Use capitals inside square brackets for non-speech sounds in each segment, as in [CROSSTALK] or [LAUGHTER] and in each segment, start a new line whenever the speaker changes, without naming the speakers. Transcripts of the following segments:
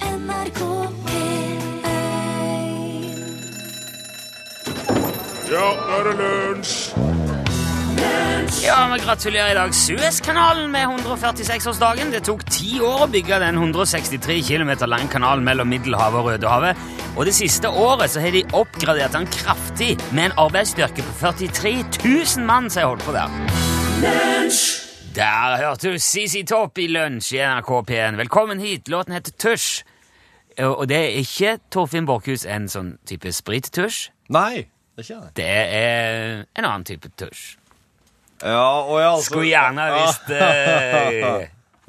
NRK P1
Ja, nå er det lunsj!
Ja, vi gratulerer i dag Suezkanalen med 146-årsdagen. Det tok ti år å bygge den 163 km lange kanalen mellom Middelhavet og Rødehavet. Og det siste året så har de oppgradert den kraftig med en arbeidsstyrke på 43 000 mann som har holdt på der. Der hørte du Sisi Topp i lunsj i NRK P1. Velkommen hit. Låten heter Tusj. Og og det er ikke Torfinn Borkhus en sånn type sprittusj.
Nei, det er ikke det.
Det er en annen type tusj.
Ja, og jeg altså...
Skulle gjerne ha visst eh,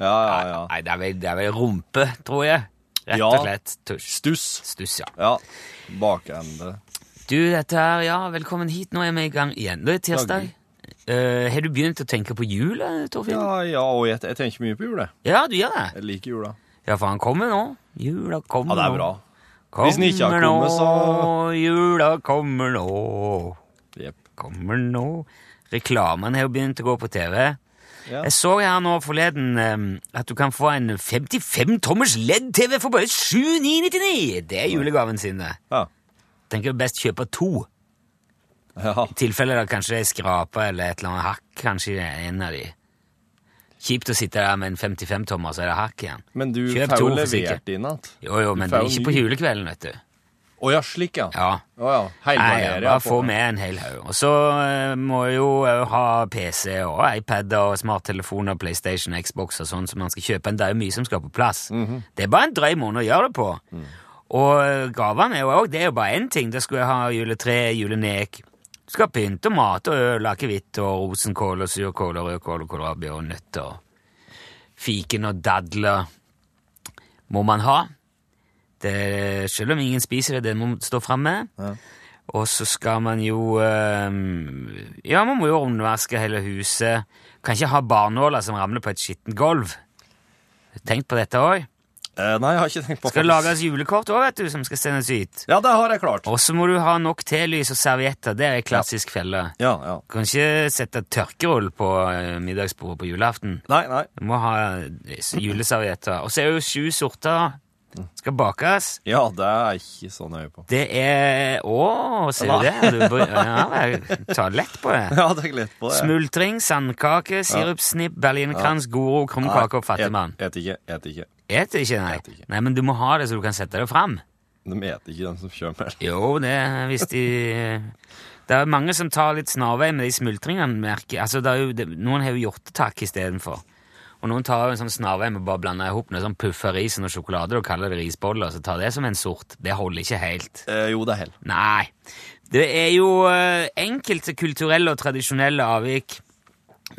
Ja, [LAUGHS] ja, ja.
Nei, det er, vel, det er vel rumpe, tror jeg. Rett
Ja.
og slett tusj.
Stuss.
Stuss, ja.
Ja, bakende.
Du, dette her, ja, velkommen hit. Nå er vi i gang igjen. Det er tirsdag. Eh, har du begynt å tenke på jula, Torfinn?
Ja, ja, og jeg, jeg tenker mye på jul, jeg.
Ja, du gjør det.
Jeg liker jula.
Ja, for han kommer nå. Jula kommer
Ja, det er
nå.
bra.
Kommer
Hvis den ikke har kommet, så-
nå, Jula kommer nå.
Jepp.
Kommer nå. Reklamen har jo begynt å gå på TV.
Ja.
Jeg så her nå forleden eh, at du kan få en 55-tommers LED-TV for bare 7999! Det er julegaven sin, det.
Ja.
tenker jeg best kjøpe to.
ja.
I tilfelle det kanskje er skrapa eller et eller annet hakk. Kanskje det er en av de. Kjipt å sitte der med en 55-tommer, så er det hakk igjen.
Men du
Kjøp
får
to
jo
for sikkert.
levert inn alt.
Jo, jo, men
får jo
ikke
ny.
på julekvelden, vet du.
Å ja, slik, ja.
Ja.
Å
Nei,
ja,
ja,
heilmanere.
bare få med en hel haug. Og så eh, må jeg jo eh, ha PC og iPad og smarttelefoner, PlayStation, Xbox og sånn som man skal kjøpe. Det er jo mye som skal på plass. Det er bare en drøy måned å gjøre det på. Og eh, gavene er jo òg Det er jo bare én ting. Da skulle jeg ha juletre, julenek. Du skal pynte og mat og øl, akevitt og rosenkål og surkål og rødkål og kålrabi og nøtter. og Fiken og dadler må man ha. Det, selv om ingen spiser det, det må man stå frem med. Og så skal man jo ehm, Ja, man må jo rundvaske hele huset. Kan ikke ha barnåler som ramler på et skittent gulv. Tenk på dette òg.
Eh, nei, jeg har ikke tenkt på
Skal det
faktisk.
lages julekort òg, vet du, som skal sendes ut.
Ja, det har jeg klart.
Og så må du ha nok telys og servietter. Det er en klassisk felle.
Ja, ja.
Du kan ikke sette tørkerull på eh, middagsbordet på julaften.
Nei, nei.
Du må ha eh, juleservietter. Og så er det jo sju sorter. Skal bakes.
Ja, det er jeg ikke så nøye på. [LAUGHS]
Det er Å, ser du det? Du, bry- ja, jeg tar lett på det.
Ja, det er lett på det.
Smultring, sandkake, sirupsnipp, berlinerkrans, goro, krumkake og fattigmann.
Et et ikke, et ikke.
Et ikke,
Et
nei.
ikke.
Nei, Men du må ha det så du kan sette det fram.
De et ikke, de som kommer.
Jo, det er hvis de [LAUGHS] Det er mange som tar litt snarvei med de smultringene. merker jeg. Altså, det er jo, det, noen har jo hjortetak istedenfor. Og noen tar jo en sånn snarvei med bare blander ihop noe sånn puffa risen og sjokolade og kaller det risboller. Så tar det som en sort. Det holder ikke helt.
Eh, jo, det er hell.
Nei. Det er jo eh, enkelte kulturelle og tradisjonelle avvik,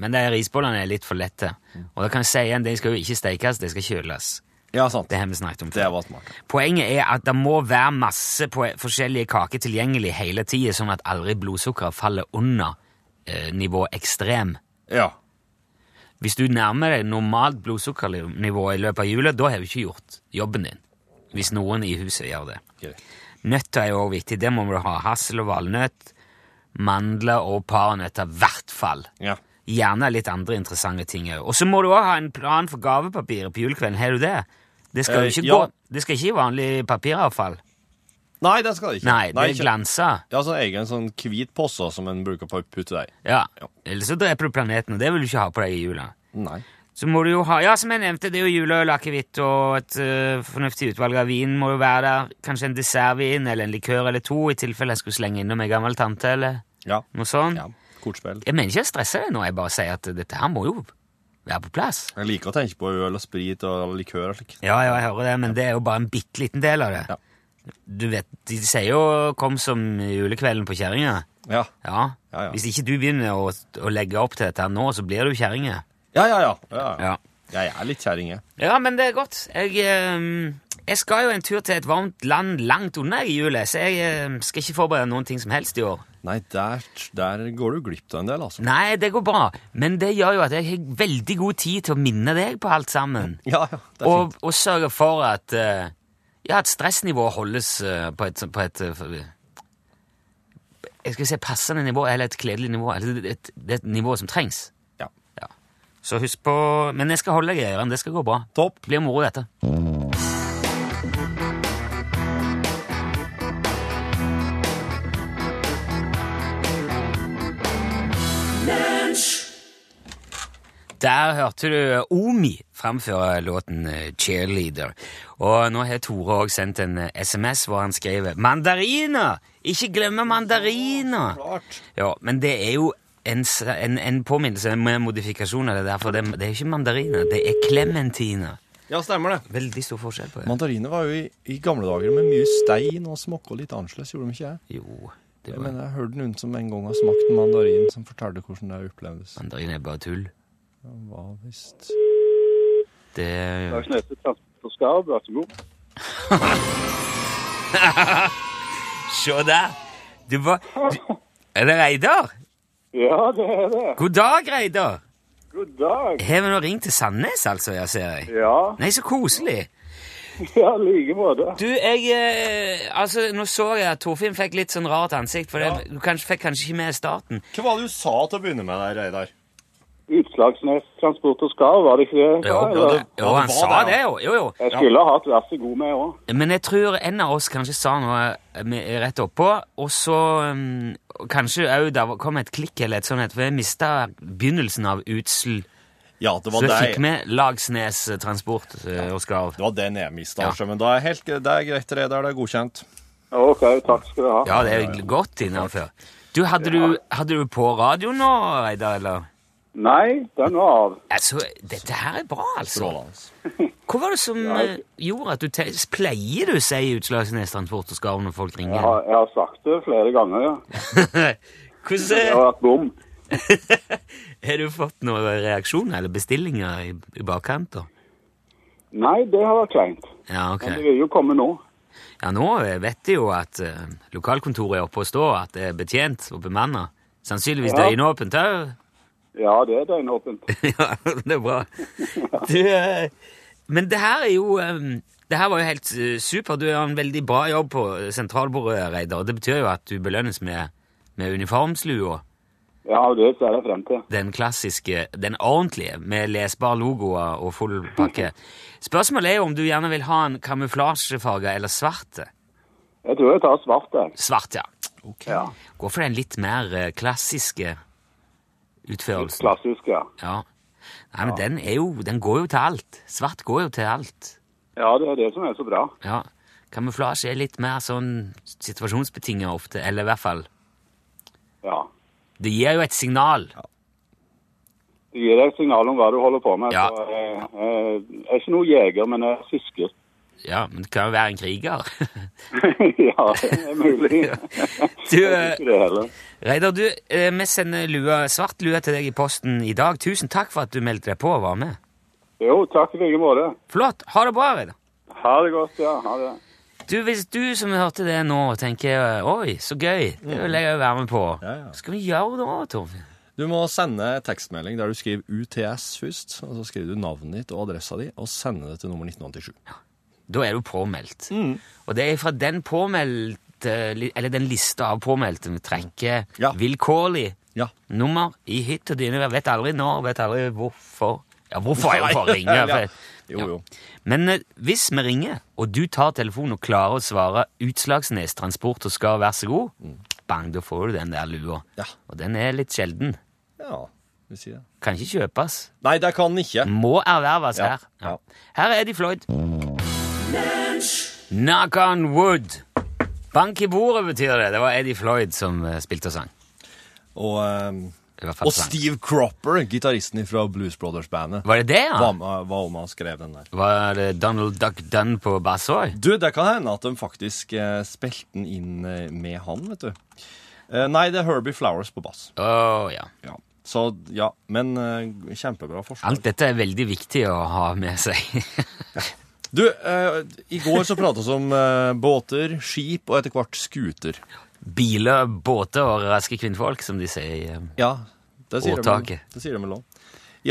men de risbollene er litt for lette. Og da kan jeg si igjen, de skal jo ikke stekes, de skal kjøles.
Ja, sant.
Det har vi snakket om
Det
før.
var smart.
Poenget er at det må være masse på forskjellige kaker tilgjengelig hele tida, sånn at aldri blodsukkeret faller under eh, nivå ekstrem.
Ja.
Hvis du nærmer deg normalt blodsukkernivå i løpet av jula, da har du ikke gjort jobben din. Hvis noen i huset gjør det.
Greit.
Nøtter er jo også viktig. Det må du ha. Hassel og valnøtt, mandler og paranøtter, i hvert fall.
Ja.
Gjerne litt andre interessante ting òg. Og så må du òg ha en plan for gavepapiret på julekvelden. Har du det? Det skal jo
Eh,
ikke
ja.
gå Det skal ikke i vanlig papiravfall.
Nei, det skal det ikke.
Nei, det er
ikke-
glansa.
Ja, sånn egen sånn hvit posse som en bruker på å putte deg.
Ja.
Ja.
Eller så dreper du planeten, og det vil du ikke ha på deg i jula.
Nei.
Så må du jo ha Ja, som jeg nevnte, det er jo juleøl, akevitt og et eh, fornuftig utvalg av vin må jo være der. Kanskje en dessertvin eller en likør eller to, i tilfelle jeg skulle slenge innom ei gammel tante eller
Ja.
noe sånt.
ja. Kortspill.
Jeg mener ikke jeg stresser deg nå, jeg bare sier at dette her må jo være på plass.
Jeg liker å tenke på øl og sprit og likør og slik.
Ja, ja, jeg hører det, men det er jo bare en bitte liten del av det.
Ja.
Du vet, de sier jo 'kom som julekvelden på kjerringa'.
Ja.
Ja.
Ja, ja.
Hvis ikke du begynner å, å legge opp til dette her nå, så blir du kjerringe.
Ja, ja, ja. ja, ja.
Ja.
Jeg er litt kjerring, jeg.
ja, men det er godt. Jeg, eh, jeg skal jo en tur til et varmt land langt unna i juli, så jeg eh, skal ikke forberede noen ting som helst i år.
Nei, der, der går du glipp av en del, altså.
Nei, det går bra, men det gjør jo at jeg har veldig god tid til å minne deg på alt sammen.
Ja, ja. Det er
og,
fint.
og sørge for at, eh, ja, at stressnivået holdes eh, på et, på et eh, for- jeg skal si passende nivå, eller et kledelig nivå. Eller det- et, det er et nivå som trengs.
Ja.
Så husk på Men jeg skal holde deg i ørene. Det skal gå bra.
Topp.
Det blir moro, dette. Der hørte du Omi framføre låten eh, 'Cheerleader'. Og nå har Tore òg sendt en eh, SMS hvor han skriver 'Mandariner! Ikke glemme mandariner!' Ja, men det er jo en, s- en, en påminnelse med modifikasjoner, det der, for det, det er jo ikke mandariner, det er klementiner.
Ja, stemmer det.
Veldig stor forskjell på det.
Mandariner var jo i, i gamle dager med mye stein og smakka litt annerledes, gjorde de ikke det?
Jo, det
Jeg
var,
mener, jeg hørte noen som en gang har smakt en mandarin, som fortalte hvordan det opplevdes.
mandarin er bare tull.
Det var visst
Det
Det er ikke nødt til transport og skarv, vær så god.
Se der! Du var du, Er det Reidar?
Ja, det er det.
God dag, Reidar!
God dag.
Har vi nå ringt til Sandnes, altså, jeg ser jeg?
Ja, [LAUGHS]
Nei, så koselig.
ja i like måte.
Du, jeg eh, Altså, nå så jeg at Torfinn fikk litt sånn rart ansikt, for det, du kanskje, fikk kanskje ikke med starten.
Hva var det du sa til å begynne med der, Reidar?
Utslagsnes transport og skarv, var det ikke det?
Jo,
Eller?
jo, det- jo han
Ja, det
sa
var det,
det, jo. Jo, jo.
Jeg skulle ha hatt vær så god med òg.
Men jeg tror en av oss kanskje sa noe eh, med- rett oppå, og så mm, Kanskje òg det kom et klikk eller et sånt, et, for jeg mista begynnelsen av utsel.
Ja, det
Så
var
jeg
deg.
fikk med Lagsnes eh, Transport eh, og Skarv.
Det var den jeg mista,
Ja.
altså, men da er helt, gre- det er greit, Reidar. Det er godkjent.
OK, takk skal du ha.
Ja, det er godt innenfor. Du, hadde du, hadde du på radio nå, Reidar, eller?
Nei, den var av.
Altså, dette her er bra, altså.
Strålende.
Hva var det som eh, gjorde at du te Pleier du å si Utslagsnes Transport og Skarv når folk
Jeg
ringer? [LAUGHS]
har, jeg har sagt det flere ganger, ja. Det
Hvordan
har vært bom.
eh, Har du fått noen reaksjoner eller bestillinger i, i bakkant? da?
Nei, det har vært kleint.
Ja, ok.
Men det vil jo komme nå.
Ja, nå eh, vet de jo at eh, lokalkontoret er oppe og står, at det er betjent og bemannet. Sannsynligvis
Ja.
døgnåpent òg.
Ja, det er døgnåpent.
[LAUGHS] Ja, det er bra. Du, eh, men det her er jo eh, Det her var jo helt eh, super. Du gjør en veldig bra jobb på sentralbordet, Reidar. Det betyr jo at du belønnes med, med uniformslua.
Ja, det ser jeg frem til.
Den klassiske, den ordentlige, med lesbar logoer og full pakke. Spørsmålet er jo om du gjerne vil ha en kamuflasjefarge eller svart.
Jeg tror jeg tar svart, jeg.
Svart, ja.
Ja.
Gå for den litt mer eh, klassiske utførelsen.
Klassisk, ja.
Ja. Nei, men den er jo Den går jo til alt. Svart går jo til alt.
Ja, det er det som er så bra.
Ja, kamuflasje er litt mer sånn situasjonsbetinget ofte, eller i hvert fall.
Ja.
Det gir jo et signal.
Det gir deg et signal om hva du holder på med.
Ja.
Så, eh, eh, jeg er ikke noen jeger, men jeg fisker.
Ja, men det kan jo være en kriger. [LAUGHS]
[LAUGHS] ja, det er mulig.
Du,
Jeg
eh,
synes ikke det heller.
Reidar, du, eh, vi sender lua, svart lue til deg i posten i dag. Tusen takk for at du meldte deg på og var med.
Jo, takk i like måte.
Flott, ha det bra, Reidar.
Ha det godt, ja. Ha det.
Du, hvis du som hørte det nå tenker, eh, oi, så gøy, det vil jeg jo være med på.
Mm. Ja, ja.
Skal vi gjøre det også, Torfinn?
Du må sende tekstmelding der du skriver UTS først, og så skriver du navnet ditt og adressa di, og sender det til nummer 1987.
Da er du påmeldt.
Mm.
Og det er fra den påmeldte, eller den lista av påmeldte, vi trekker
Ja.
vilkårlig
Ja.
nummer i hytt og dyne. Jeg vet aldri når, vet aldri hvorfor. Ja, hvorfor er det for å ringe?
Ja.
For-
Jo, jo.
Men eh, hvis vi ringer, og du tar telefonen og klarer å svare Utslagsnes Transport og skal være så god, bang, da får du den der lua.
Mm. Ja.
Og den er litt sjelden.
Ja, vi sier det.
Kan ikke kjøpes.
Nei, det kan den ikke.
Må erverves
Ja,
her. Ja.
ja.
Her er Eddie Floyd. Knock on wood. Bank i bordet betyr det. Det var Eddie Floyd som eh, spilte og sang.
Og, ehm,
I hvert fall
og
sang.
Steve Cropper, gitaristen fra Blues Brothers-bandet,
Var det det, ja?
var med var med og skrev den der.
Var det Donald Duck Dunn på bass òg?
Du, det kan hende at de faktisk eh, spilte den inn eh, med han, vet du. Eh, nei, det er Herbie Flowers på bass.
Å ja.
Ja. Så ja, men eh, kjempebra forslag.
Alt dette er veldig viktig å ha med seg. [LAUGHS]
Du, eh, i går så prata vi om eh, båter, skip og etter hvert skuter.
Biler, båter og raske kvinnfolk, som de sier. eh,
Ja, det sier,
Og
de,
taket.
det sier de vel òg.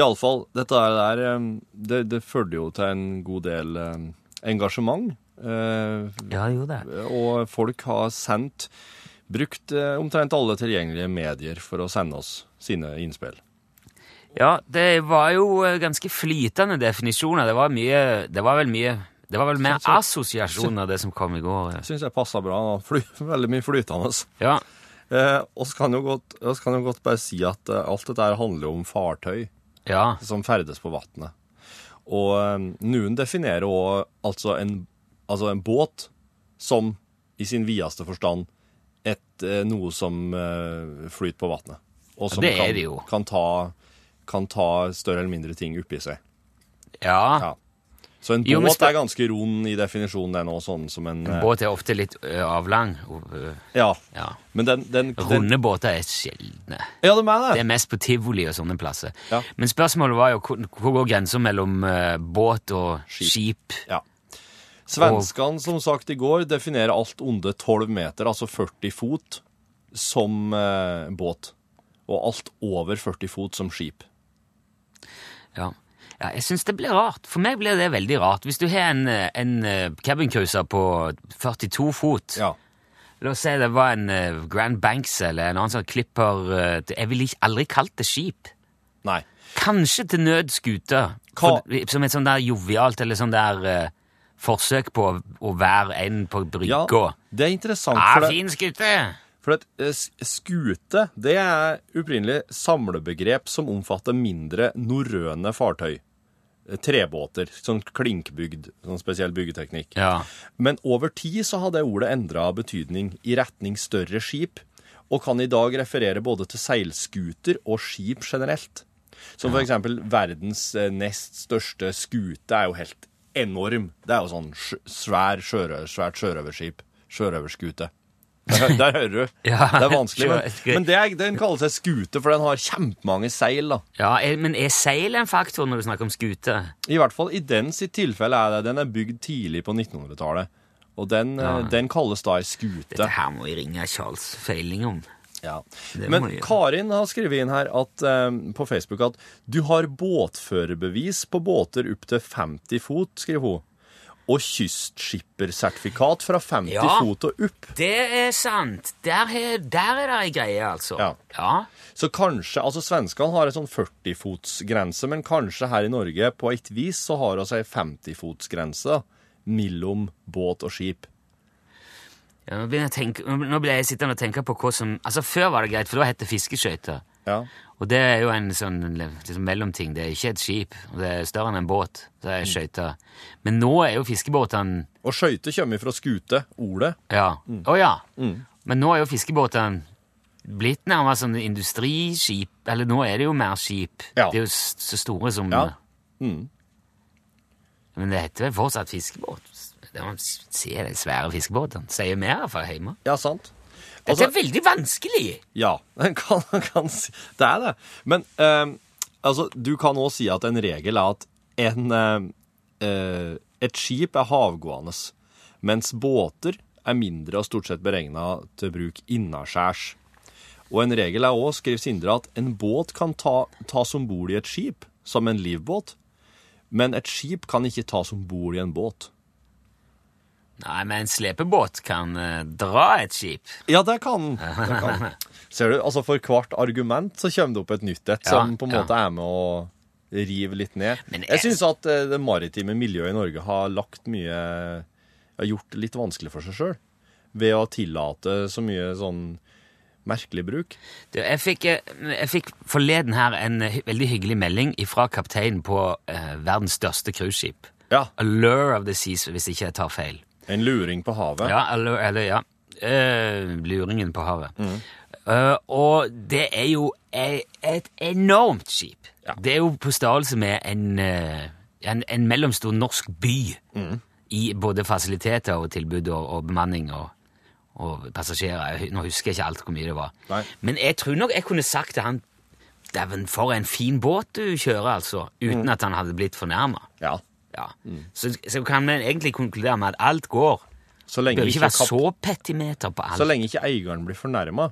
Iallfall, dette her der eh, det, det førte jo til en god del eh, engasjement. Eh,
Ja, jo det.
og folk har sendt Brukt eh, omtrent alle tilgjengelige medier for å sende oss sine innspill.
Ja, det var jo eh, ganske flytende definisjoner. Det var mye Det var vel mye Det var vel mer assosiasjoner, det som kom i går.
Syns jeg passer bra. da. Fly, [LAUGHS] veldig mye flytende.
Ja.
Eh, og så kan, jo godt- oss kan jo godt bare si at eh, alt dette her handler jo om fartøy.
Ja.
som ferdes på vannet. Og eh, noen definerer også altså en, altså en båt som i sin videste forstand et, eh, noe som eh, flyter på vannet. Og som
det er
kan,
det jo.
Kan, ta, kan ta større eller mindre ting oppi seg.
Ja.
Ja. Så en båt
Ah. Jo, men spør-
er ganske rund i definisjonen, den òg, sånn som en, eh,
Båt er ofte litt ø, avlang. og, ø,
Ja.
Ja.
Men den, den, den
Runde båter er sjeldne.
Ja, det er
Det
det.
er mest på tivoli og sånne plasser.
Ja.
Men spørsmålet var jo hvor, hvor går grensa mellom ø, båt og
Skip.
skip?
Ja. Svenskene, som sagt i går, definerer alt under 12 meter, altså 40 fot, som eh, båt. Og alt over 40 fot som skip.
Ja. Ja, jeg syns det blir rart. For meg blir det veldig rart. Hvis du har en, ø, en ø, cabincruiser på 42 fot
Ja.
La oss si det var en ø, Grand Banks eller en annen sånn klipper ø, Jeg ville ikke- aldri kalt det skip.
Nei.
Kanskje til nød skute.
Hva-
For, som et sånn der jovialt eller sånn der eh, forsøk på å, å være en på brygga.
Ja, det er interessant,
ah,
for, det,
fin skute!
for at, eh, s- skute det er opprinnelig samlebegrep som omfatter mindre norrøne fartøy. Eh, Trebåter. Sånn klinkbygd. Sånn spesiell byggeteknikk.
Ja.
Men over tid så har det ordet endra betydning i retning større skip, og kan i dag referere både til seilskuter og skip generelt. Som for eksempel verdens eh, nest største skute er jo helt enorm. Det er jo sånn sj- svær sjørøver, svært sjørøverskip. Sjørøverskute. Der, der hører du.
[LAUGHS] Ja.
det er vanskelig. Men,
Sjø-
men det er, den kaller seg skute, for den har kjempemange seil. da.
ja, er, Men er seil en faktor når du snakker om skute?
I hvert fall i den sitt tilfelle er det. Den er bygd tidlig på 1900-tallet. Og den, eh, den kalles da ei skute.
Dette her må vi ringe Charles Feiling om.
Ja.
Det må
Men
jeg gjøre.
Karin har skrevet inn her at, eh, på Facebook at du har båtførerbevis på båter opp til 50 fot, skriver hun. Og kystskippersertifikat fra 50
Ja.
fot og opp.
Det er sant. Der, he- der er det ei greie, altså.
Ja. Så kanskje Altså, svenskene har en sånn 40-fotsgrense, men kanskje her i Norge på et vis så har vi ei 50-fotsgrense da, mellom båt og skip.
Ja, nå, begynner jeg å tenke, nå ble jeg sittende og tenke på hva som Altså, Før var det greit, for da het det fiskeskøyter.
Ja.
Og det er jo en sånn liksom, mellomting. Det er ikke et skip, og det er større enn en båt. Det er skøyter. Men nå er jo fiskebåtene
Og skøyte kommer fra skute, ordet.
Ja.
Mm.
Å ja. Men nå er jo fiskebåtene blitt nærmere sånn industriskip. Eller nå er det jo mer skip.
Ja.
Det er jo s- så store som
Ja. Mm.
Men det heter vel fortsatt fiskebåt. Det man s- ser de svære fiskebåtene. Sier mer iallfall hjemme.
Ja, sant? Altså-
Dette er veldig vanskelig!
Ja, [LAUGHS] den kan, kan si Det er det. Men eh, altså, du kan òg si at en regel er at en, eh, eh, et skip er havgående, mens båter er mindre og stort sett beregna til bruk innaskjærs. Og en regel er òg, skriver Sindre, at en båt kan ta, tas om bord i et skip, som en livbåt, men et skip kan ikke tas om bord i en båt.
Nei, men en slepebåt kan eh, dra et skip.
Ja, det
[LAUGHS]
kan den. Det kan den. Ser du, altså for hvert argument så kommer det opp et nytt et
Ja,
som på en
ja.
måte er med å rive litt ned.
Men
jeg
jeg-
syns at eh, det maritime miljøet i Norge har lagt mye Har gjort det litt vanskelig for seg sjøl ved å tillate så mye sånn merkelig bruk.
Du, jeg, fikk, eh, jeg fikk forleden her en eh, hy- veldig hyggelig melding fra kapteinen på eh, verdens største cruiseskip.
Ja.
Allure of the Seas, hvis ikke jeg tar feil.
En luring på havet.
Ja, Allure, eller ja. Eh, luringen på havet. Eh, og det er jo e- et enormt skip. Det er jo på størrelse med en, eh, en, en mellomstor norsk by. I både fasiliteter og tilbud og, og bemanning og, og passasjerer. Jeg, hu- nå husker jeg ikke alt hvor mye det var.
Nei.
Men jeg tror nok jeg kunne sagt til han Dæven, for en fin båt du kjører, altså. Uten at han hadde blitt fornærma.
Ja.
Ja. Så, så kan vi egentlig konkludere med at alt går.
Så
Det
lenge
bør ikke
ikke,
være
kap-
så petimeter på alt.
så lenge ikke eieren blir fornærma,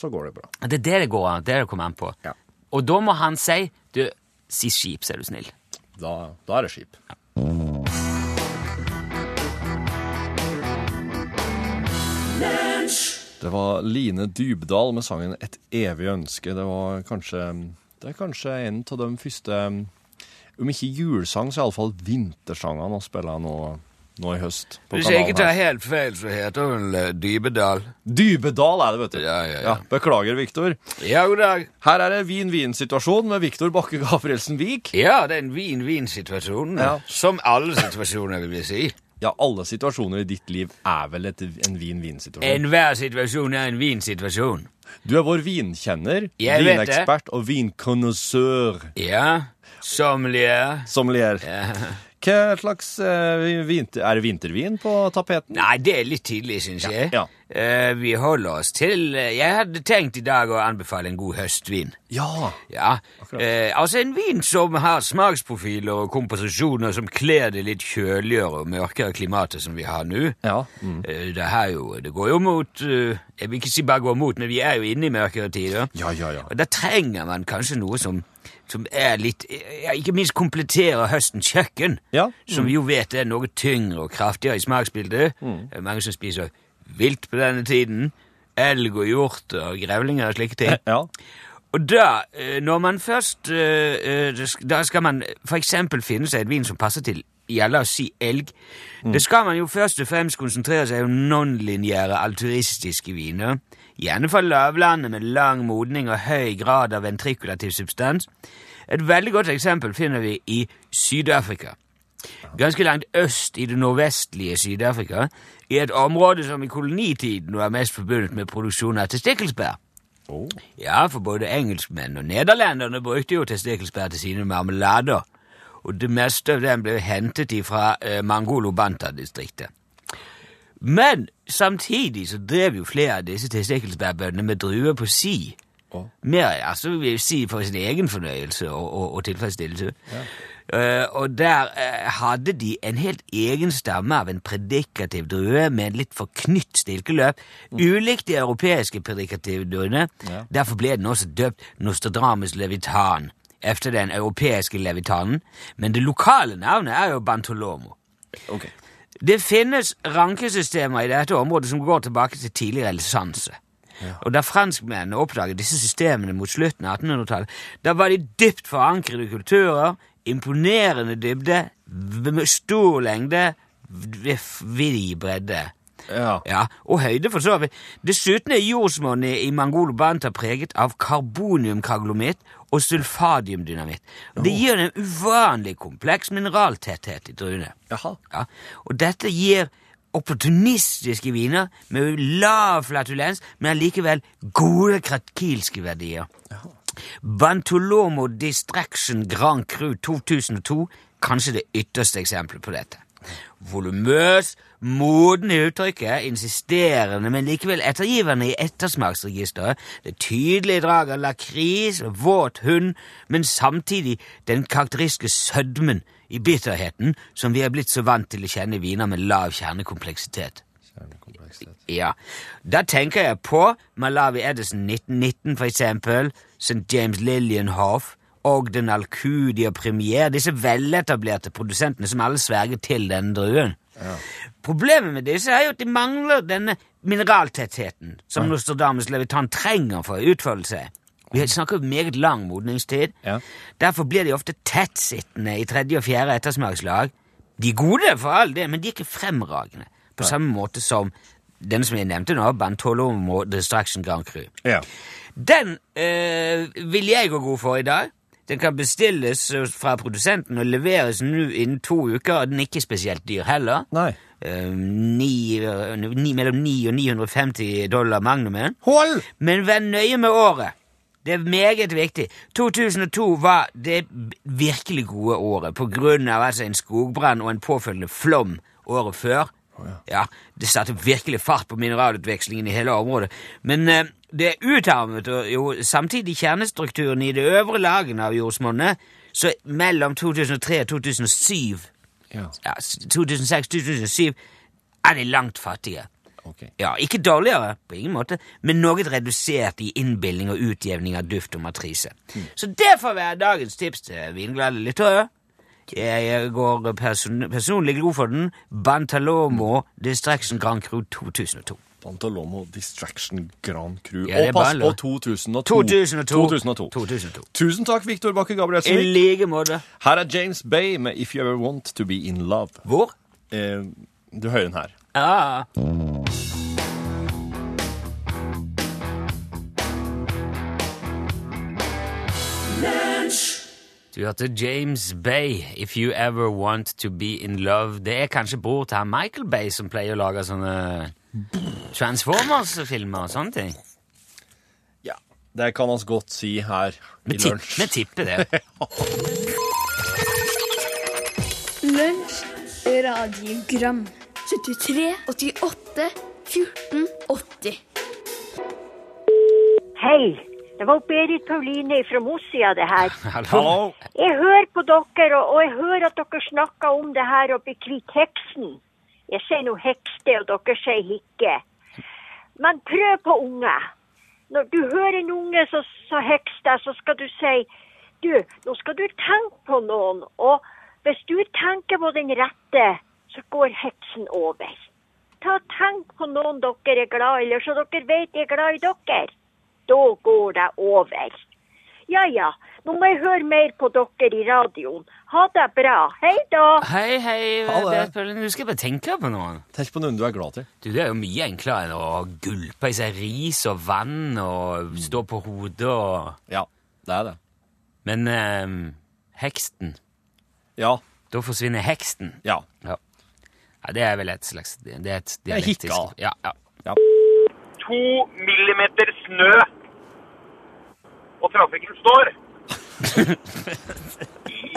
så går det bra.
Det er det det går an. Det er det det kommer an på.
Ja.
Og da må han si du, Si skip, så er du snill.
Da, da er det skip. Det var Line Dybdahl med sangen 'Et evig ønske'. Det var kanskje Det er kanskje en av de første Om ikke julesang, så iallfall vintersangene å spille nå nå i høst. på
Hvis jeg ikke
kanalen
tar
her.
helt feil, så heter hun eh, Dybedal.
Dybedal er det, vet du.
Ja, ja, ja.
beklager, Viktor.
Ja, god dag.
Her er det vin-vin-situasjon med Viktor Bakke Gabrielsen Vik.
Ja, det er en vin-vin-situasjon.
Ja.
Som alle situasjoner, vil jeg si.
Ja, alle situasjoner i ditt liv er vel et, en vin-vin-situasjon.
Enhver situasjon er en vinsituasjon.
Du er vår vinkjenner,
Jeg vet det.
vinekspert og vinkonnoisseur.
Ja. Sommelier.
Sommelier. Hva slags eh, vin, Er det vintervin på tapeten?
Nei, det er litt tidlig, syns jeg.
ja.
Eh, vi holder oss til eh, Jeg hadde tenkt i dag å anbefale en god høstvin.
Ja.
Ja, eh, altså En vin som har smaksprofiler og komposisjoner som kler det litt kjøligere og mørkere klimatet som vi har nå.
ja.
Eh, det, her jo, det går jo mot eh, Jeg vil ikke si bare går mot, men vi er jo inne i mørkere tider.
Ja, ja, ja.
Og da trenger man kanskje noe som, som er litt ja, Ikke minst kompletterer høstens kjøkken,
Ja, Mm.
som vi jo vet er noe tyngre og kraftigere i smaksbildet. Det er mange som spiser vilt på denne tiden. Elg og hjorter og grevlinger og slike ting.
ja.
Og da, eh, når man først eh, eh, det sk- Da skal man for eksempel finne seg et vin som passer til ja, la oss si elg. Det skal man jo først og fremst konsentrere seg om nonlinjære altruistiske viner. Gjerne fra lavlandet med lang modning og høy grad av ventrikulativ substans. Et veldig godt eksempel finner vi i Syd-Afrika. Ganske langt øst i det nordvestlige Syd-Afrika, i et område som i kolonitiden var mest forbundet med produksjon av testikkelsbær. Ja, for både engelskmenn og nederlenderne brukte jo testikkelspær til sine marmelader. Og det meste av dem ble hentet ifra eh, Mangolo-Banta-distriktet. Men samtidig så drev jo flere av disse testikkelspærbøndene med druer på si. Mer, altså vil jeg si for sin egen fornøyelse og, og, og tilfredsstillelse. Eh, og der eh, hadde de en helt egen stamme av en predikativ drue med en litt forknytt stilkeløp, ulikt de europeiske predikative druene. Derfor ble den også døpt Nostradamus levitan, efter den europeiske levitanen, men det lokale navnet er jo Bantolomo.
Ok.
Det finnes rankesystemer i dette området som går tilbake til tidlig renessanse. Og da franskmennene oppdaget disse systemene mot slutten av 1800-tallet, da var de dypt forankrede kulturer, imponerende dybde, v- med stor lengde, v- v- vid bredde.
ja.
Ja, og høyde for så vidt. Dessuten er jordsmonnet i Mangolobanta preget av karboniumkaglomitt og sulfadiumdynamitt. Det gir en uvanlig kompleks mineraltetthet i druene.
Jaha.
Ja, og dette gir opportunistiske viner med lav flatulens, men allikevel gode krakilske verdier. Bantolomo Distraction Grand Cru 2002, kanskje det ytterste eksempelet på dette. Volumøs, moden i uttrykket, insisterende, men likevel ettergivende i ettersmaksregisteret. Det tydelige drag av lakris og våt hund, men samtidig den karakteristiske sødmen i bitterheten som vi er blitt så vant til å kjenne i viner med lav kjernekompleksitet. Ja. Da tenker jeg på Malawi Edison 1919, for eksempel, St. James Lillienhoff, Ogden Alcudia Premier, disse veletablerte produsentene som alle sverger til denne druen. Problemet med disse er jo at de mangler denne mineraltettheten som Nostradamus Levitan trenger for å utfolde seg. Vi snakker om meget lang modningstid.
Ja.
Derfor blir de ofte tettsittende i tredje og fjerde ettersmakslag. De er gode, for all det, men de er ikke fremragende. På samme måte som den som jeg nevnte nå, Bantolomo Distraction Grand Cru.
Ja.
Den eh, vil jeg gå god for i dag. Den kan bestilles eh, fra produsenten og leveres nå innen to uker, og den er ikke spesielt dyr heller.
Nei.
Eh, ni, eh, ni, mellom 9 og 950 dollar magnumen.
Hold!
Men vær nøye med året. Det er meget viktig. 2002 var det virkelig gode året på grunn av altså en skogbrann og en påfølgende flom året før. ja. Det satte virkelig fart på mineralutvekslingen i hele området. Men eh, det utarmet og jo samtidig kjernestrukturen i det øvre lagen av jordsmonnet, så mellom 2003 og 2007,
Ja.
ja, 2006-2007, er de langt fattige.
Ok.
Ja, ikke dårligere, på ingen måte, men noe redusert i innbildning og utjevning av duft og matrise. Så det får være dagens tips til vinglade lyttere. Jeg går person personlig god for den. Bantalomo Distraction Grand Cru 2002.
Pantalomo Distraction Grand Crew.
Ja, det er
og
bare
pass på
lov.
2002.
2002.
2002.
2002.
Tusen takk, Viktor Bakke
I
Gabrielsen.
like måte.
Her er James Bay med If You Ever Want To Be In Love.
Hvor?
eh, Du hører den her.
Ja. Du hørte James Bay, If You Ever Want To Be In Love. Det er kanskje bror til han Michael Bay som pleier å lage sånne Transformers-filmer og sånne ting.
Ja. Det kan vi godt si her i
Vi tipp-
lunsj.
vi tipper det.
Lunsj, radiogram 73, 88, 14, 80
Hei. Det var Berit Pauline fra Mosia, det her.
[LAUGHS] Hallo.
Hallo!
Jeg hører på dere, og, og jeg hører at dere snakker om det her å bli kvitt heksen. Jeg sier nå hekste, og dere sier hikke. Men prøv på unge. Når du hører en unge som hekser deg, så skal du si Du, nå skal du tenke på noen, og hvis du tenker på den rette, så går heksen over. Ta og Tenk på noen dere er glad i, eller så dere vet er glad i dere. Da går det over. Ja ja, nå må jeg høre mer på dere i radioen. Ha det bra. Hei da.
Hei, hei.
Ha det.
Berit Pauline. Du skal bare tenke på noe.
Tenk på noen du er glad til.
Du, Det er jo mye enklere enn å gulpe i seg ris og vann og stå på hodet og
Ja, det er det.
Men ehm, heksten
Ja.
Da forsvinner heksten.
Ja.
Ja. ja. Det er vel et slags Det er et
er
dialektisk
hikka.
Ja, ja.
to millimeter snø, og trafikken står.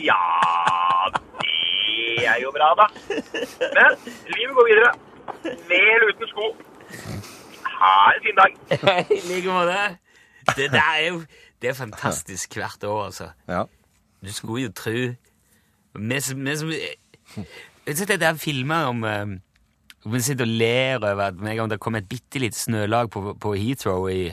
Ja, det er jo bra, da. Men livet går videre. Med eller uten sko. Ha en fin dag.
[LAUGHS] I like måte. Det der er jo Det er fantastisk hvert år, altså.
ja.
Du skulle jo tro Vi som- vi som eh, Vet du det der filmer om ehm, om Vi sitter og ler over at med en gang det kom et bitte lite snølag på, på Heathrow i,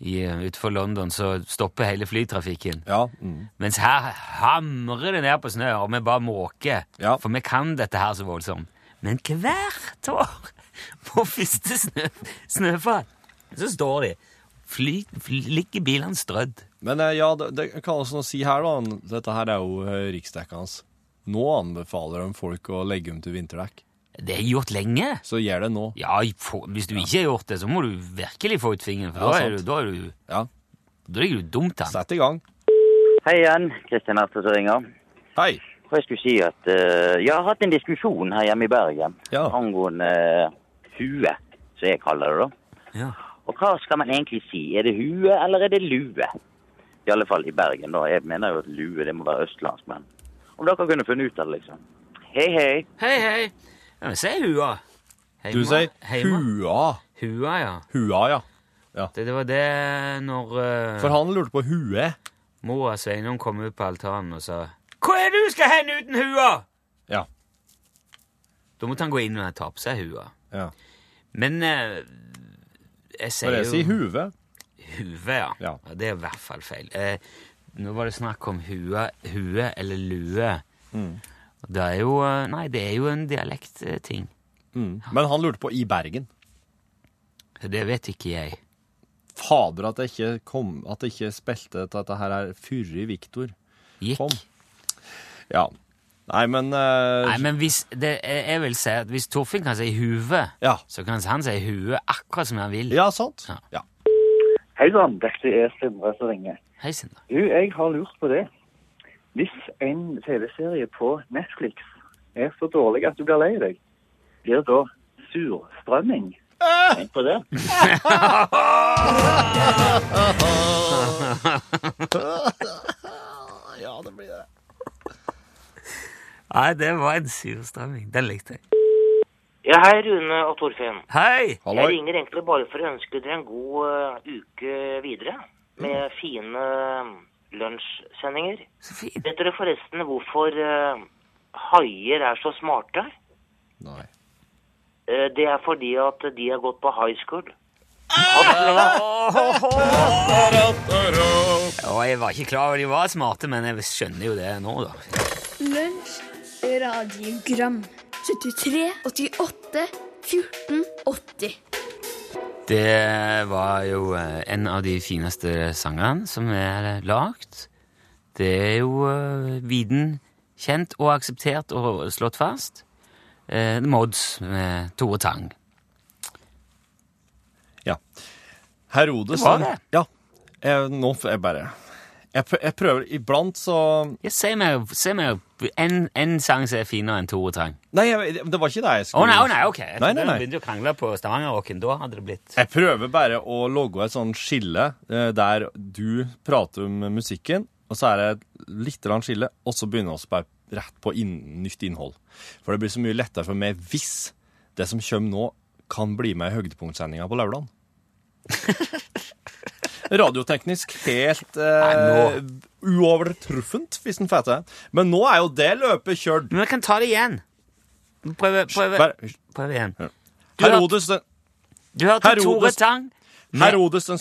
i, utenfor London, så stopper hele flytrafikken.
Ja. Mm.
Mens her hamrer det ned på snø, og vi bare måker.
Ja.
For vi kan dette her så voldsomt. Men hvert år [LAUGHS] på første snø, snøfall, så står de. Fly, fly, ligger bilene strødd.
Men eh, ja, det, det kan jeg også nå si her, da. Dette her er jo eh, riksdekkende. Nå anbefaler de folk å legge om til vinterdekk.
Det er gjort lenge.
Så gjør det nå.
Ja, i for, hvis du ikke har gjort det, så må du virkelig få ut fingeren, for
Ja,
da, er du,
sant.
da, er du,
Ja.
da ligger du dumt an.
Sett i gang.
Hei igjen, Kristian Ertles som ringer.
Hei.
Og jeg skulle si at eh, jeg har hatt en diskusjon her hjemme i Bergen
Ja.
angående eh, hue, som jeg kaller det da.
Ja.
Og hva skal man egentlig si? Er det hue eller er det lue? I alle fall i Bergen da. Jeg mener jo at lue, det må være østlandsk, men om dere kunne funnet ut av det liksom. Hei, hei.
Hei, hei. Ja, men si hua. Heima,
Du sier
heima.
hua.
Hua, ja.
Hua, ja.
Det, det var det når eh,
For han lurte på hue.
Mora Sveinung kom ut på altanen og sa Hva er det du skal hende uten hua?
Ja.
Da måtte han gå inn og ta på seg hua.
Ja.
Men eh, jeg sier
Når jeg
jo
sier hue
huve, ja.
Ja.
Ja, Det er i hvert fall feil. Eh, nå var det snakk om hua, hue eller lue.
Mm.
Og Det er jo eh, Nei, det er jo en dialektting.
Mm. Men han lurte på i Bergen.
Det vet ikke jeg.
Fader, at jeg ikke, kom, at jeg ikke spilte at dette her er Fyrre Viktor.
Gikk.
Kom. Ja. Nei, men, eh,
Nei, men hvis, det, jeg jeg vil si at hvis Torfinn kan si huve,
Ja.
så kan han si hue akkurat som han vil.
Ja, sant?
Ja.
Ja.
Hei sann, dette er Sindre som ringer.
Hei, Sindre.
Du, jeg har lurt på det. Hvis en TV-serie på Netflix er så dårlig at du blir lei deg, blir det da surstrømming? Tenk på det.
Nei, det var en surstrømming. Den likte jeg.
Ja, hei Rune og Torfinn.
Hei!
Hallo.
Jeg ringer egentlig bare for å ønske dere en god eh, uke videre med fine eh, lunsjsendinger.
Så fint.
Vet dere forresten hvorfor eh, haier er så smarte?
Nei.
Eh, det er fordi at de har gått på high school.
Og jeg var ikke klar over de var smarte, men jeg skjønner jo det nå, da.
Lunsj, radiogram 73, 88, 14, 80
Det var jo eh, en av de fineste sangene som er lagd. Det er jo eh, viden kjent og akseptert og slått fast. eh, Mods med Tore Tang.
Ja. Herodes
Det var det.
Ja. Jeg, nå får jeg bare jeg, prø- jeg prøver Iblant så
Ja, si meg, si meg en, en sang som er finere enn Tore Tang.
Nei, jeg, det var ikke det jeg
Å
skulle
nei, å nei, ok. Jeg
Nei,
trodde
nei,
vi
nei.
begynte å krangle på Stavangerrocken. Da hadde det blitt
Jeg prøver bare å logge et sånn skille eh, der du prater om musikken, og så er det et lite grann skille, og så begynner vi bare rett på inn, nytt innhold. For det blir så mye lettere for meg hvis det som kommer nå, kan bli med i høydepunktsendinga på lørdag. Radioteknisk helt eh, uovertruffent, hvis en får til. Men nå er jo det løpet kjørt.
Men vi kan ta det igjen. Prøve, prøve,
Bare-
prøve igjen. Du
Herodes den
Du hørte Tore Tang.
Herodes den,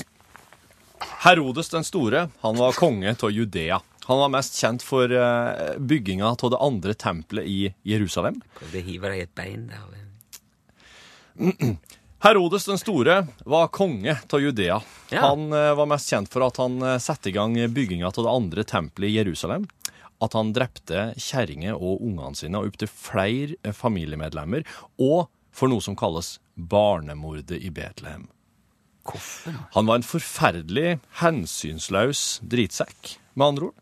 Herodes den store, han var konge av Judea. Han var mest kjent for eh, bygginga av det andre tempelet i Jerusalem.
Prøvde å hive deg i et bein der.
Herodes den store var konge av Judea. Han eh, var mest kjent for at han eh, satte i gang bygginga av det andre tempelet i Jerusalem. At han drepte kjerringer og ungene sine og opptil flere eh, familiemedlemmer. Og for noe som kalles barnemordet i Betlehem. Han var en forferdelig hensynsløs dritsekk, med andre ord.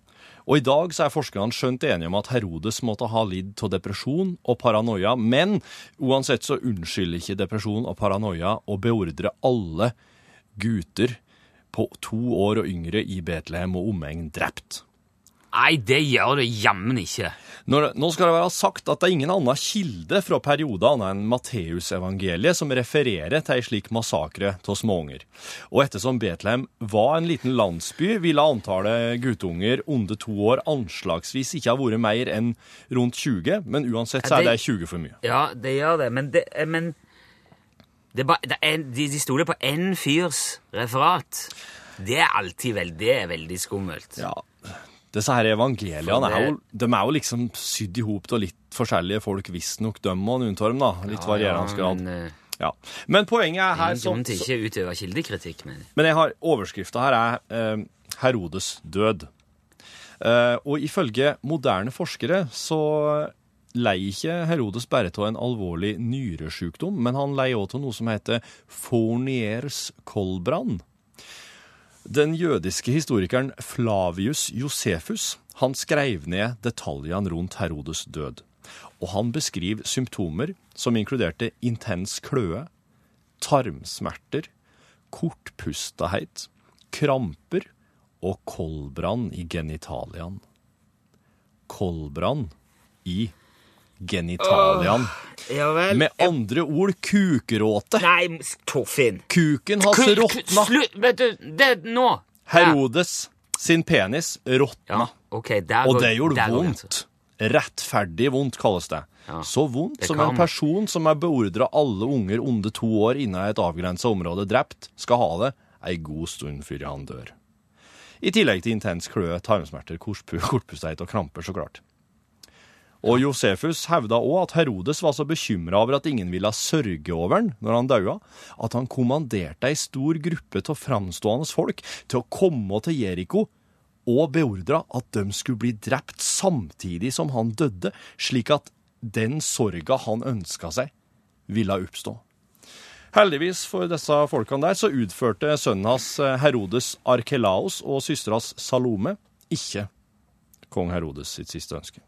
Og i dag så er forskerne skjønt enige om at Herodes måtte ha lidd av depresjon og paranoia, men uansett så unnskylder ikke depresjon og paranoia å beordre alle gutter på to år og yngre i Betlehem og omegn drept.
Nei, det gjør det jammen ikke.
Når, nå skal det være sagt at det er ingen annen kilde fra perioden annet enn Matteusevangeliet som refererer til ei slik massakre av småunger. Og ettersom Betlehem var en liten landsby, ville antallet guttunger under to år anslagsvis ikke ha vært mer enn rundt 20, men uansett så er
Ja,
det
det-
20 for mye.
Ja, det gjør det, men det, eh, men det er bare- det er, de, de stoler på én fyrs referat. Det er alltid veldig, det er veldig skummelt.
Ja, Disse her evangeliene
For det-
er jo, de er jo liksom sydd i hop av litt forskjellige folk, visstnok dem og noen av dem, da. Litt varierende grad.
Men, eh,
Ja. Men poenget er her
ingen grunn til
så-
ikke å utøve kildekritikk, men
Men jeg har overskrifta her er eh, Herodes død. Eh, og ifølge moderne forskere så leier ikke Herodes bare av en alvorlig nyresjukdom, men han leier også av noe som heter Fourniers koldbrann. Den jødiske historikeren Flavius Josefus han skrev ned detaljene rundt Herodes død. Og han beskriver symptomer som inkluderte intens kløe, tarmsmerter, kortpustahet, kramper og koldbrann i genitalian. Koldbrann i genitalian.
Ja vel.
Med andre ord kukeråte.
Nei, Torfinn.
Kuken hans
Ku- ku-
Altså, råtna.
Slutt! Vet du, det er nå!
Herodes sin penis råtna.
Ok, der
Og
går-
det gjorde
der går
vondt. Rettferdig vondt, kalles det. Så vondt
det
som
kan
en
man.
person som er beordra alle unger under to år innen et avgrensa område drept, skal ha det ei god stund før han dør. I tillegg til intens kløe, tarmsmerter, korspu- kortpusthet og kramper, så klart. Og Josefus hevda òg at Herodes var så bekymra over at ingen ville sørge over han når han daua, at han kommanderte ei stor gruppe av framstående folk til å komme til Jeriko og beordra at de skulle bli drept samtidig som han døde, slik at den sorga han ønska seg, ville oppstå. Heldigvis for disse folkene der, så utførte sønnen hans eh, Herodes Arkelaos og søstera hans Salome ikke kong Herodes sitt siste ønske.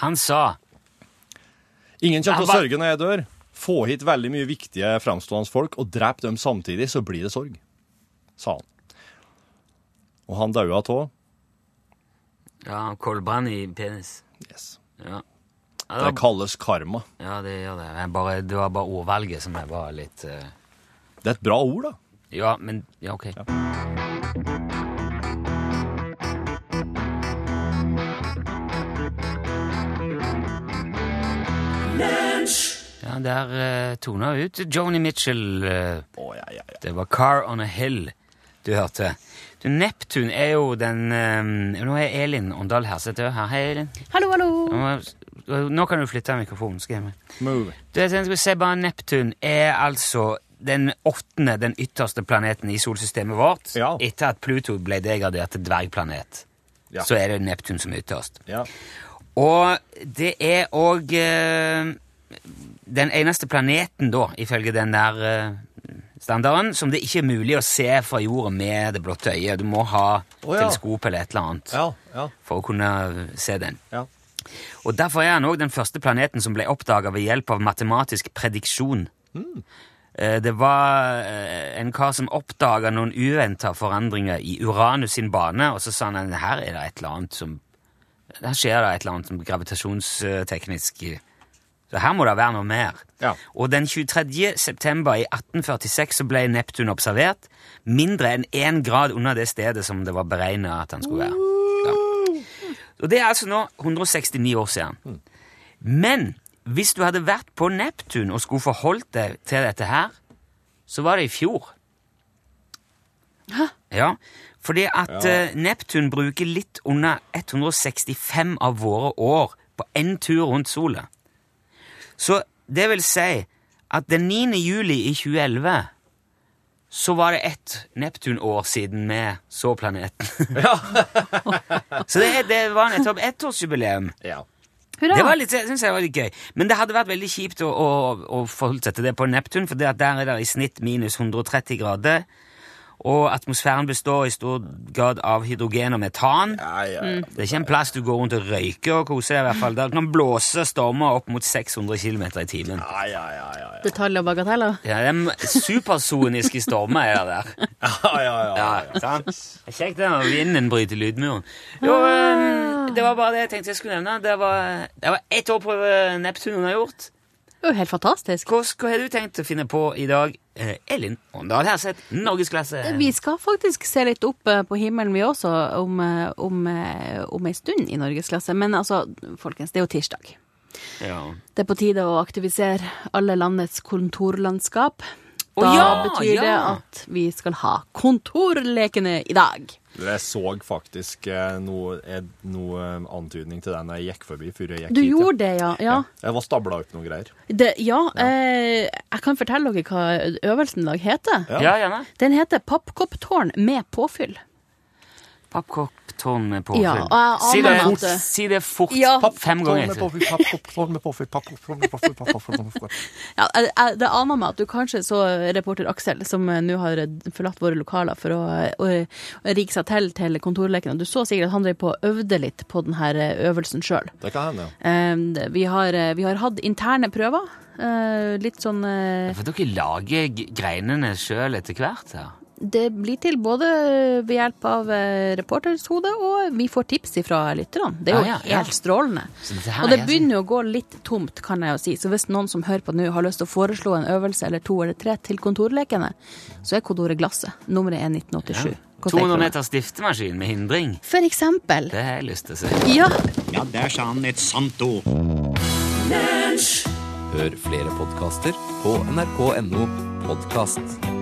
Han sa
Ingen kommer til
Han
å
var-
sørge når jeg dør. Få hit veldig mye viktige framstående folk og drep dem samtidig, så blir det sorg, sa han. Og han daua tå.
Ja, koldbrann i penis.
Yes.
Ja. Ja, det,
Det
var,
kalles karma.
ja, det gjør det. Jeg bare, det var bare ordvalget som jeg var litt eh,
Det er et bra ord, da.
Ja, men Ja, ok. Ja, der uh, tona ut Joni Mitchell. eh, Det var Car on a Hill du hørte. Du, Neptun er jo den eh, Nå er Elin Åndal Herseth òg her. Hei, Elin.
Hallo, hallo.
Nå, nå kan du flytte mikrofonen. Skal jeg med. Du, jeg tenkte jeg skulle se bare Neptun er altså den åttende, den ytterste planeten i solsystemet vårt. Etter at Pluto ble degradert til dvergplanet,
Ja.
så er det Neptun som er ytterst. Og det er òg eh, den eneste planeten, da, ifølge den der eh, standarden, som det ikke er mulig å se fra jorda med det blotte øyet. Du må ha
Å, ja.
teleskop eller et eller annet
Ja, ja.
for å kunne se den.
Ja.
Og Derfor er han òg den første planeten som ble oppdaga ved hjelp av matematisk prediksjon. Eh, Det var eh, en kar som oppdaga noen uventa forandringer i Uranus sin bane, og så sa han her er det et eller annet som her skjer det et eller annet som gravitasjonsteknisk eh, Så her må det være noe mer. Og den 23. september i 1846 så ble Neptun observert mindre enn én grad under det stedet som det var beregna at han skulle være. Og det er altså nå 169 år siden. Men hvis du hadde vært på Neptun og skulle forholdt deg til dette her, så var det i fjor. Ja, fordi at
Ja.
eh, Neptun bruker litt under 165 av våre år på én tur rundt sola. Så det vil si at den 9. juli i 2011 så var det ett Neptun-år siden vi så planeten. [LAUGHS] så det, det var nettopp ettårsjubileum.
Hurra!
Det var litt, jeg synes det var litt gøy. Men det hadde vært veldig kjipt å, å, å forholde seg til det på Neptun, for det at der er det i snitt minus 130 grader, og atmosfæren består i stor grad av hydrogen og metan.
ja.
Det er ikke en plass du går rundt og røyker og koser deg, i hvert fall. Der kan blåse stormer opp mot 600 km i timen.
Detaljer og bagateller.
Ja, det er supersoniske stormer er det der.
[LAUGHS] Ja, ja, ja.
sant? Det er kjekt det når vinden bryter lydmuren. Jo, eh, det var bare det jeg tenkte jeg skulle nevne. Det var, det var ett år på eh, Neptun unnagjort.
Det er jo helt fantastisk.
Hva, hva har du tenkt å finne på i dag? Eh, Elin Åndal Herseth, norgesklasse.
Vi skal faktisk se litt opp eh, på himmelen vi også om, eh, om, eh, om ei stund i norgesklasse. Men altså, folkens, det er jo tirsdag.
Ja.
Det er på tide å aktivisere alle landets kontorlandskap.
Å,
Da
ja,
betyr det
ja.
at vi skal ha kontorlekene i dag.
Jeg så faktisk eh, noe, ed- noe eh, antydning til den jeg gikk forbi før jeg gikk
Du
hit. ja.
gjorde det, ja. ja.
Jeg var stabla ut noen greier.
Det, ja, Eh, jeg kan fortelle dere hva øvelsen i dag heter.
Ja. Ja, gjerne.
Den heter Pappkopptårn med påfyll.
Pappkopptårn med
Ja,
påfyll.
og jeg
si, det,
aner at-
fort, si det fort
Ja.
fem ganger.
Pappkopptårn Sånn med Pappkopptårn sånn med påfyll, pappkopptårn med påfyll, pappkopptårn sånn med påfyll.
Ja, jeg, jeg, det aner meg at du kanskje så reporter Aksel, som eh, nå har eh, forlatt våre lokaler for å, eh, å, å rigge seg til til kontorleken, og du så sikkert at han drev på og øvde litt på denne øvelsen sjøl.
Det kan hende, ja.
Vi, har, eh, vi har hatt interne prøver. eh, Litt sånn eh,
For dere lager g- greinene sjøl etter hvert? Ja.
Det blir til både ved hjelp av eh, reporters hode, og vi får tips fra lytterne. Det er jo
Ah, Ja, ja, ja.
helt strålende.
Så dette her
Og det
er sånn. så-
begynner jo å gå litt tomt, kan jeg jo si. Så hvis noen som hører på nå, har lyst til å foreslå en øvelse eller to eller tre til kontorlekene, så er kodeordet Glasset. Nummeret er 1987. Kontakt
200
meg.
meter stiftemaskin med hindring.
For eksempel.
Det har jeg lyst til å se.
Ja.
Ja, der sa han et sant ord.
Hør flere podkaster på nrk.no podkast.